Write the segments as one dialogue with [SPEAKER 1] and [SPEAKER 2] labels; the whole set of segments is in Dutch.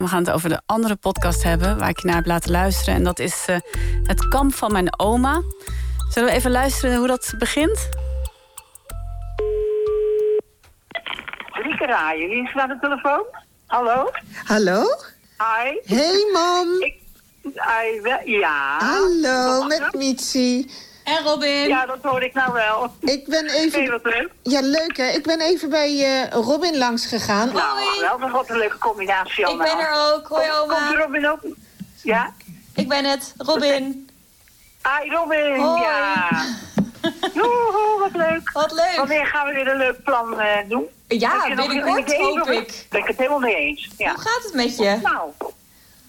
[SPEAKER 1] We gaan het over de andere podcast hebben waar ik je naar heb laten luisteren. En dat is eh, Het kamp van mijn oma. Zullen we even luisteren hoe dat begint?
[SPEAKER 2] Rieke Raaien, wie is er aan de telefoon? Hallo?
[SPEAKER 3] Hallo?
[SPEAKER 2] Hi?
[SPEAKER 3] Hey mam.
[SPEAKER 2] Ik, I, we- ja.
[SPEAKER 3] Hallo met Mitsi.
[SPEAKER 4] En Robin.
[SPEAKER 2] Ja, dat hoor ik nou wel.
[SPEAKER 3] Ik ben
[SPEAKER 2] Vind je
[SPEAKER 3] even...
[SPEAKER 2] dat leuk?
[SPEAKER 3] Ja, leuk hè. Ik ben even bij eh, Robin langs gegaan.
[SPEAKER 2] Nou, geweldig. Wat een leuke combinatie
[SPEAKER 4] Ik
[SPEAKER 2] allemaal.
[SPEAKER 4] ben er ook. Hoi
[SPEAKER 2] Komt
[SPEAKER 4] oma.
[SPEAKER 2] Robin ook? Ja?
[SPEAKER 4] Ik ben het. Robin.
[SPEAKER 2] Hi Robin,
[SPEAKER 4] Hoi.
[SPEAKER 2] ja. Joehoe, wat leuk.
[SPEAKER 4] Wat leuk.
[SPEAKER 2] Wanneer gaan we weer een leuk plan eh, doen? Heb je
[SPEAKER 4] Ja,
[SPEAKER 2] nog een
[SPEAKER 4] binnenkort
[SPEAKER 2] idee,
[SPEAKER 4] hoop
[SPEAKER 2] Robin?
[SPEAKER 4] ik.
[SPEAKER 2] Ben ik het helemaal mee eens. Ja.
[SPEAKER 4] Hoe gaat het met je?
[SPEAKER 2] Nou,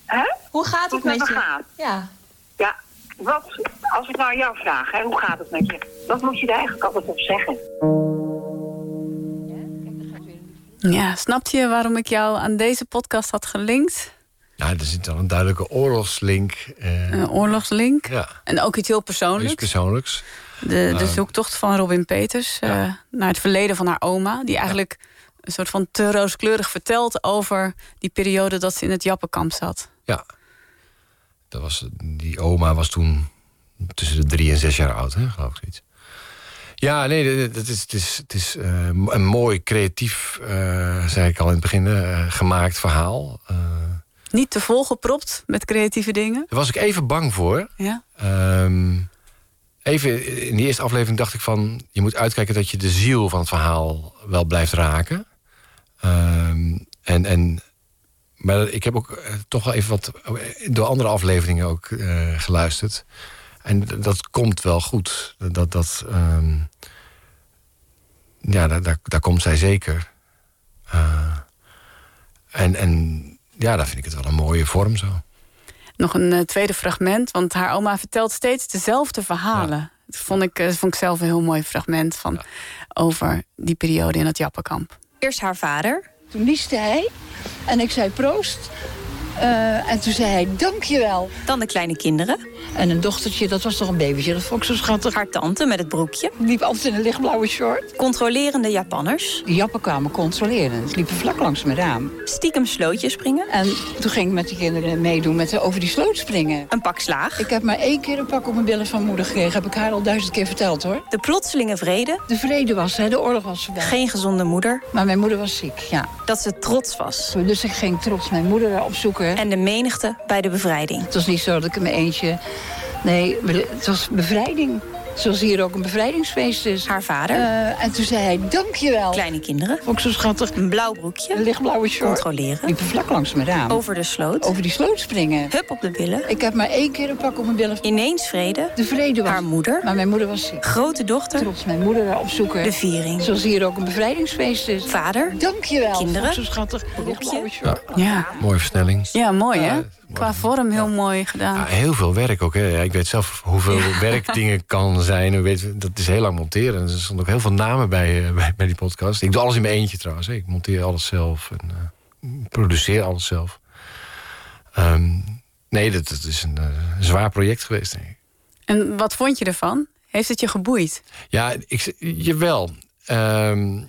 [SPEAKER 2] hè?
[SPEAKER 4] Hoe gaat het
[SPEAKER 2] Hoe het
[SPEAKER 4] met
[SPEAKER 2] met me gaat?
[SPEAKER 4] je? Ja.
[SPEAKER 2] Ja, wat, als ik nou jou vraag, hè, hoe gaat het met je? Wat moet je daar eigenlijk altijd op zeggen?
[SPEAKER 1] Ja, snap je waarom ik jou aan deze podcast had gelinkt?
[SPEAKER 5] Nou, er zit al een duidelijke oorlogslink. eh,
[SPEAKER 1] Een oorlogslink.
[SPEAKER 5] ja,
[SPEAKER 1] En ook iets heel
[SPEAKER 5] iets
[SPEAKER 1] persoonlijks.
[SPEAKER 5] persoonlijks.
[SPEAKER 1] De, de zoektocht van Robin Peters eh, naar het verleden van haar oma. Die eigenlijk een soort van te rooskleurig vertelt over die periode dat ze in het Jappenkamp zat.
[SPEAKER 5] Ja. Dat was, die oma was toen tussen de drie en zes jaar oud, hè, geloof ik zoiets. Ja, nee, dat is, het is, het is eh, een mooi, creatief, eh, zei ik al in het begin, eh, gemaakt verhaal. Eh,
[SPEAKER 1] Niet te volgepropt met creatieve dingen.
[SPEAKER 5] daar was ik even bang voor.
[SPEAKER 1] Ja.
[SPEAKER 5] Ehm, even in die eerste aflevering dacht ik van... je moet uitkijken dat je de ziel van het verhaal wel blijft raken. Ehm, en, en, maar ik heb ook eh, toch wel even wat... door andere afleveringen ook eh, geluisterd. En d- dat komt wel goed. Dat, dat, ehm, ja, daar, daar, daar komt zij zeker. Eh, en, en ja, daar vind ik het wel een mooie vorm zo.
[SPEAKER 1] Nog een eh, tweede fragment, want haar oma vertelt steeds dezelfde verhalen. Dat vond ik, eh, vond ik zelf een heel mooi fragment van, over die periode in het Jappenkamp.
[SPEAKER 6] Eerst haar vader.
[SPEAKER 7] Toen nieste hij en ik zei proost. Eh, en toen zei hij dankjewel.
[SPEAKER 6] Dan de kleine kinderen.
[SPEAKER 7] En een dochtertje, dat was toch een babytje, dat vond ik zo schattig.
[SPEAKER 6] Haar tante met het broekje.
[SPEAKER 7] Die liep altijd in een lichtblauwe short.
[SPEAKER 6] Controlerende Japanners.
[SPEAKER 7] Die jappen kwamen controleren. Ze liepen vlak langs mijn raam.
[SPEAKER 6] Stiekem slootjes springen.
[SPEAKER 7] En toen ging ik met de kinderen meedoen met de over die sloot springen.
[SPEAKER 6] Een pak slaag.
[SPEAKER 7] Ik heb maar één keer een pak op mijn billen van moeder gekregen. Heb ik haar al duizend keer verteld hoor.
[SPEAKER 6] De plotselinge vrede.
[SPEAKER 7] De vrede was, hè, de oorlog was voorbij.
[SPEAKER 6] Geen gezonde moeder.
[SPEAKER 7] Maar mijn moeder was ziek, ja.
[SPEAKER 6] Dat ze trots was.
[SPEAKER 7] Dus ik ging trots mijn moeder opzoeken.
[SPEAKER 6] En de menigte bij de bevrijding.
[SPEAKER 7] Het was niet zo dat ik in mijn eentje... Nee, het was bevrijding. Zoals hier ook een bevrijdingsfeest is.
[SPEAKER 6] Haar vader.
[SPEAKER 7] Eh, en toen zei hij, dankjewel.
[SPEAKER 6] Kleine kinderen.
[SPEAKER 7] Ook zo schattig.
[SPEAKER 6] Een blauw
[SPEAKER 7] Een
[SPEAKER 6] broekje.
[SPEAKER 7] lichtblauwe short.
[SPEAKER 6] Controleren.
[SPEAKER 7] Liepen vlak langs mijn raam.
[SPEAKER 6] Over de sloot.
[SPEAKER 7] Over die sloot springen.
[SPEAKER 6] Hup op de billen.
[SPEAKER 7] Ik heb maar één keer een pak op mijn billen.
[SPEAKER 6] Ineens vrede.
[SPEAKER 7] De vrede was.
[SPEAKER 6] Haar moeder.
[SPEAKER 7] Maar mijn moeder was ziek.
[SPEAKER 6] Grote dochter.
[SPEAKER 7] Trots mijn moeder opzoeken.
[SPEAKER 6] De viering.
[SPEAKER 7] Zoals hier ook een bevrijdingsfeest is.
[SPEAKER 6] Vader.
[SPEAKER 7] Dankjewel.
[SPEAKER 6] Kinderen.
[SPEAKER 7] Ook zo schattig. Een lichtblauwe short.
[SPEAKER 1] Ja,
[SPEAKER 5] Mooie versnelling.
[SPEAKER 1] ja mooi hè?
[SPEAKER 5] mooi.
[SPEAKER 1] Qua vorm heel mooi gedaan.
[SPEAKER 5] Ja, heel veel werk ook. Hè. Ja, Ik weet zelf hoeveel werk dingen kan zijn. Ik Weet, dat is heel lang monteren. Er stonden ook heel veel namen bij, eh, bij, bij die podcast. Ik doe alles in mijn eentje trouwens. Hè. Ik monteer alles zelf en eh, produceer alles zelf. Ehm, nee, dat, dat is een eh, zwaar project geweest, denk ik.
[SPEAKER 1] En wat vond je ervan? Heeft het je geboeid?
[SPEAKER 5] Ja, ik, jawel. Ehm,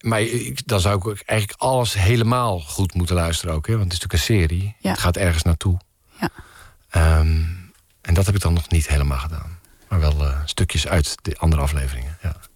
[SPEAKER 5] maar ik, dan zou ik ook eigenlijk alles helemaal goed moeten luisteren ook. Hè? Want het is natuurlijk een serie.
[SPEAKER 1] Ja.
[SPEAKER 5] Het gaat ergens naartoe.
[SPEAKER 1] Ja.
[SPEAKER 5] Ehm, en dat heb ik dan nog niet helemaal gedaan. Maar wel eh, stukjes uit de andere afleveringen. Ja.